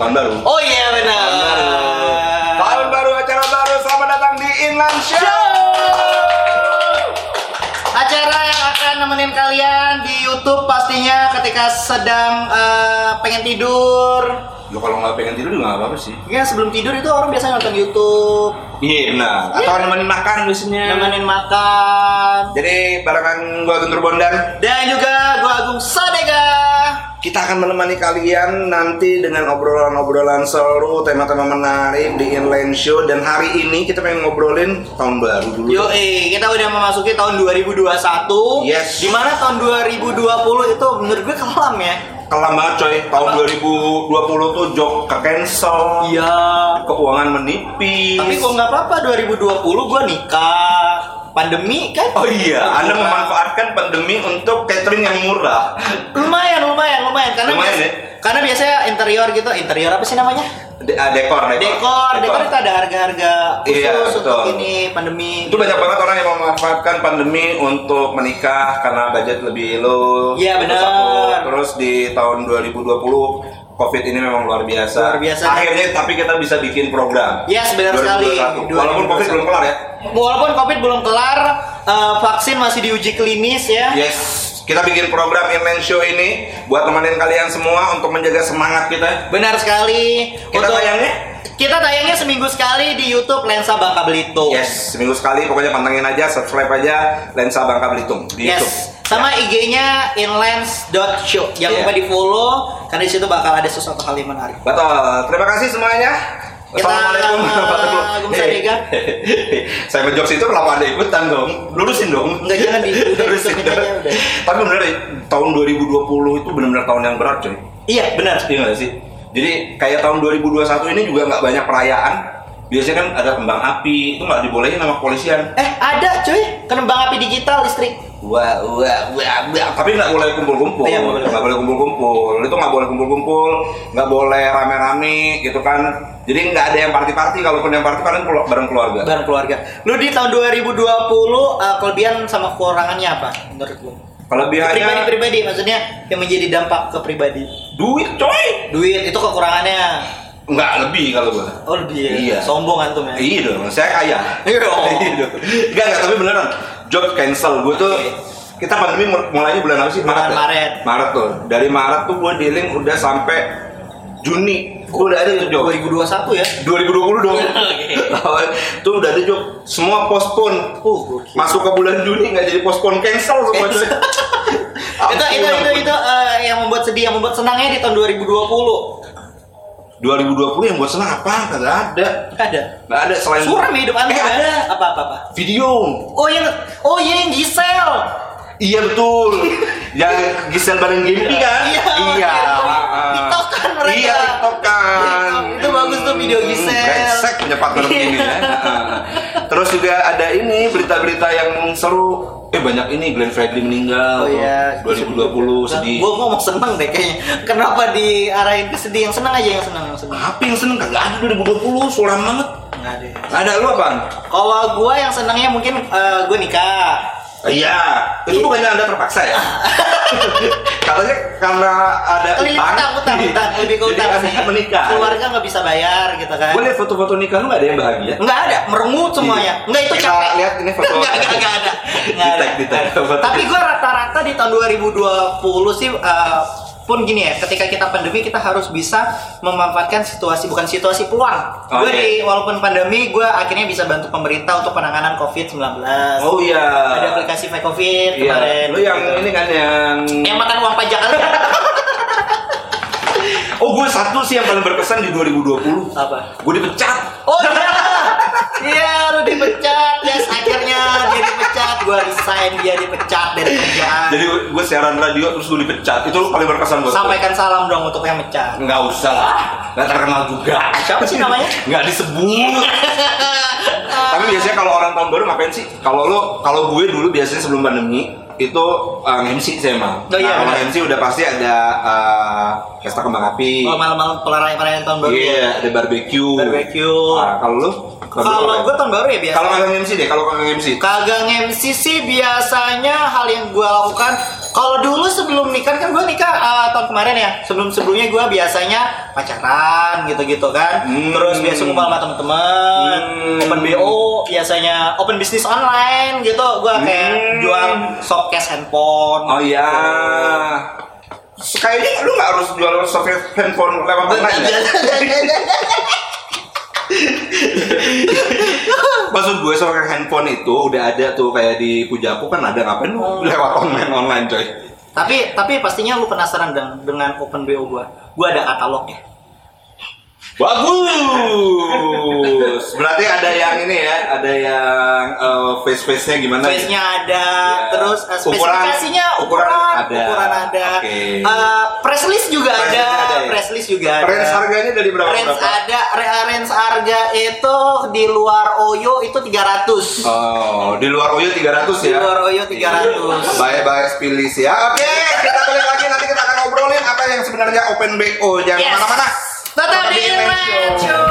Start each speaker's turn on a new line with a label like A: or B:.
A: tahun baru
B: Oh iya benar.
A: tahun baru acara baru selamat datang di Inland Show
C: Acara yang akan nemenin kalian di YouTube pastinya ketika sedang eh, pengen tidur.
A: lo Ya, kalau nggak pengen tidur juga nggak apa-apa sih
C: Ya sebelum tidur itu orang biasanya nonton YouTube,
A: iya benar atau nemenin makan biasanya
C: nemenin makan.
A: jadi barengan gua Guntur Bondan
C: Dan juga gua Agung Sadega.
A: kita akan menemani kalian nanti dengan obrolan-obrolan seru, tema-tema menarik di Inline Show dan hari ini kita pengen ngobrolin tahun baru dulu.
C: Yo, eh, kita udah memasuki tahun 2021.
A: Yes.
C: Dimana tahun 2020 itu menurut gue kelam ya.
A: Kelam banget coy, tahun 2020 tuh jok ke cancel,
C: Iya.
A: keuangan menipis.
C: Tapi kok nggak apa-apa 2020 gua nikah. Pandemi kan?
A: Oh iya, Anda
C: Iya.
A: memanfaatkan pandemi untuk catering yang murah.
C: lumayan lumayan lumayan karena
A: Lumayan,
C: biasa-
A: ya?
C: karena biasanya interior gitu interior apa sih namanya
A: De- ah, dekor, dekor,
C: dekor dekor itu ada harga-harga khusus
A: Iya,
C: untuk
A: betul.
C: ini pandemi
A: Itu banyak banget orang yang memanfaatkan pandemi untuk menikah karena budget lebih low.
C: Iya, benar.
A: Terus, terus di tahun 2020 COVID ini memang luar biasa.
C: Luar biasa.
A: Akhirnya tapi kita bisa bikin program.
C: Yes, benar sekali.
A: 2021. Walaupun COVID
C: 2021.
A: belum kelar ya.
C: walaupun covid belum kelar eh, vaksin masih diuji klinis ya
A: Yes. Kita bikin program Inline Show ini buat temenin kalian semua untuk menjaga semangat kita.
C: benar sekali
A: Kita tayangnya?
C: kita tayangnya seminggu sekali di YouTube Lensa Bangka Belitung
A: Yes, seminggu sekali pokoknya pantengin aja, subscribe aja Lensa Bangka Belitung di
C: Yes.
A: YouTube.
C: sama IG-nya inlands.show. Jangan
A: Iya.
C: lupa di follow karena di situ bakal ada sesuatu hal yang menarik.
A: Betul. Terima kasih semuanya.
C: Kita-
A: Assalamualaikum warahmatullahi
C: Gumsarega.
A: Hehehe. Saya menjokes itu kenapa anda ikutan dong? Lurusin dong.
C: Enggak, jangan di- udah,
A: Lurusin
C: tutupin
A: dong.
C: aja, udah.
A: Tapi bener ya, tahun 2020 itu benar-benar tahun yang berat coy.
C: Iya, benar.
A: Iya nggak sih? Jadi kayak tahun 2021 ini juga nggak banyak perayaan. Biasanya kan ada kembang api, itu nggak dibolehin sama kepolisian.
C: Eh, ada cuy, kembang api digital listrik.
A: Wah, wah, wah, wah. Tapi nggak boleh kumpul-kumpul,
C: Iya, nggak boleh.
A: nggak boleh kumpul-kumpul. Itu nggak boleh kumpul-kumpul, nggak boleh rame-rame, gitu kan. Jadi nggak ada yang party-party. Kalaupun yang party, paling kelu- bareng keluarga.
C: bareng keluarga. Lu di tahun 2020 eh, kelebihan sama kekurangannya apa menurut lu?
A: Kelebihannya
C: Pribadi-pribadi maksudnya yang menjadi dampak ke pribadi.
A: duit, coy.
C: Duit itu kekurangannya.
A: Nggak lebih kalau gua.
C: Oh dia
A: Iya.
C: sombong antum ya.
A: Iya dong, saya kaya.
C: Iya.
A: Iya dong. Nggak, nggak. Tapi beneran, job cancel. Gue tuh
C: Oke.
A: kita pandemi mul- mulainya bulan apa sih?
C: Bulan
A: ya?
C: Maret.
A: Maret tuh. Dari Maret tuh gue dealing udah sampai Juni. Gue udah ada tuh job.
C: 2021 ya.
A: 2020 dong. Itu udah ada job semua postpone.
C: Uh, gokil.
A: Masuk ke bulan Juni nggak jadi postpone cancel semua
C: Cancel.
A: cuy.
C: itu
A: Ampun,
C: itu itu,
A: ampun.
C: itu eh, yang membuat sedih, yang membuat senangnya di tahun 2020.
A: 2020 yang buat senang apa? Kagak ada.
C: Ada.
A: Nggak ada selain
C: Suram hidup anda. ya.
A: Eh, ada
C: Apa apa apa.
A: video.
C: Oh yang oh iya, yang Gisel.
A: Iya betul. yang Gisel bareng Gimpi kan?
C: Iya.
A: Iya.
C: TikTok kan mereka.
A: Iya, TikTok kan.
C: TikTok. Itu bagus tuh video Iya.
A: Hmm,
C: Gisel.
A: Brengsek punya partner begini ya. Heeh. Terus juga ada ini berita-berita yang seru. Eh banyak ini Glenn Fredly meninggal.
C: Oh iya.
A: 2020 sedih.
C: Gue ngomong seneng deh kayaknya. Kenapa diarahin ke sedih? Yang seneng aja yang seneng yang seneng.
A: Apa yang seneng kagak ada 2020 suram banget.
C: Nggak ada.
A: Nggak Ada ya. lu apa?
C: Kalau gue yang senengnya mungkin gue nikah.
A: Iya, itu bukannya anda terpaksa ya? Katanya karena ada
C: Keliling utang, utang, utang, lebih ke
A: Jadi
C: utang
A: Anda
C: sih.
A: menikah.
C: Keluarga nggak bisa bayar gitu kan.
A: Gue liat foto-foto nikah lu gak ada yang bahagia.
C: Nggak ada, merengut semuanya.
A: Iya.
C: Nggak itu
A: Kita
C: capek.
A: lihat ini foto-
C: Nggak, nggak, nggak ada. Nggak ada.
A: Di-tag, di-tag.
C: Tapi gue rata-rata di tahun 2020 sih eh, pun gini ya, ketika kita pandemi kita harus bisa memanfaatkan situasi bukan situasi peluang. Gue
A: Oke.
C: di walaupun pandemi gue akhirnya bisa bantu pemerintah untuk penanganan COVID-19.
A: Oh iya.
C: Ada aplikasi My COVID
A: Iya.
C: kemarin. gitu.
A: Lu yang ini kan yang
C: yang makan uang pajak kali. Ya.
A: Oh, gue satu sih yang paling berkesan di 2020.
C: Apa?
A: Gue dipecat.
C: Oh iya. Iya, lu dipecat. Yes, akhirnya dia dipecat. Gua resign, dia dipecat dari kerjaan.
A: Jadi gue siaran radio terus gue dipecat. Itu lu paling berkesan buat gua.
C: Sampaikan salam dong untuk yang mecat.
A: Nggak usah lah. Nggak terkenal juga.
C: Siapa sih namanya?
A: Nggak disebut. Tapi biasanya kalau orang tahun baru ngapain sih? Kalau lo, kalau gue dulu biasanya sebelum pandemi itu uh, MC saya mah.
C: Oh, iya,
A: nah, kalau
C: benar.
A: MC udah pasti ada uh, pesta kembang api.
C: Oh, malam-malam perayaan-perayaan tahun baru. ya.
A: Iya, ada barbecue.
C: Barbecue.
A: Nah, kalau lu?
C: Kalau gue tahun baru ya biasa.
A: kalau kagak MC deh, kalau kagak MC.
C: Kagak MC sih biasanya hal yang gua lakukan Kalau dulu sebelum nikah kan gue nikah eh, tahun kemarin ya. Sebelum sebelumnya gue biasanya pacaran gitu-gitu kan.
A: Hmm.
C: Terus biasa ngumpul sama temen-temen,
A: Hmm.
C: open bo, biasanya open bisnis online gitu. Gue kayak
A: Hmm.
C: jual soft cash handphone.
A: Oh iya. Kayaknya lu nggak harus jual software handphone lewat online.
C: iya,
A: ya? Maksud gue software handphone itu udah ada tuh kayak di Pujaku kan ada ngapain lu
C: Oh.
A: lewat online online coy.
C: tapi tapi pastinya lu penasaran dengan, dengan open bo gue. Gue ada ya. katalognya.
A: Bagus. Berarti ada yang ini ya, ada yang face face nya gimana? gitu?
C: face nya ada,
A: Ya.
C: terus eh,
A: Ukuran-
C: spesifikasinya ukuran,
A: ukuran
C: ukuran
A: ada.
C: ada,
A: Oke.
C: Eh, press list juga
A: Press
C: ada,
A: list-nya ada ya?
C: press list juga ada.
A: Range harganya dari berapa?
C: Range
A: berapa?
C: ada, re- range harga itu di luar Oyo itu 300.
A: Oh, di luar Oyo 300 ya.
C: Di luar Oyo
A: Iya.
C: 300.
A: Bye-bye Spilis ya. Oke, kita balik lagi nanti kita akan ngobrolin apa yang sebenarnya Open BO. Jangan
C: Yes.
A: kemana-mana.
C: Tetap di
A: Inline
C: Inline
A: Show.
C: Show.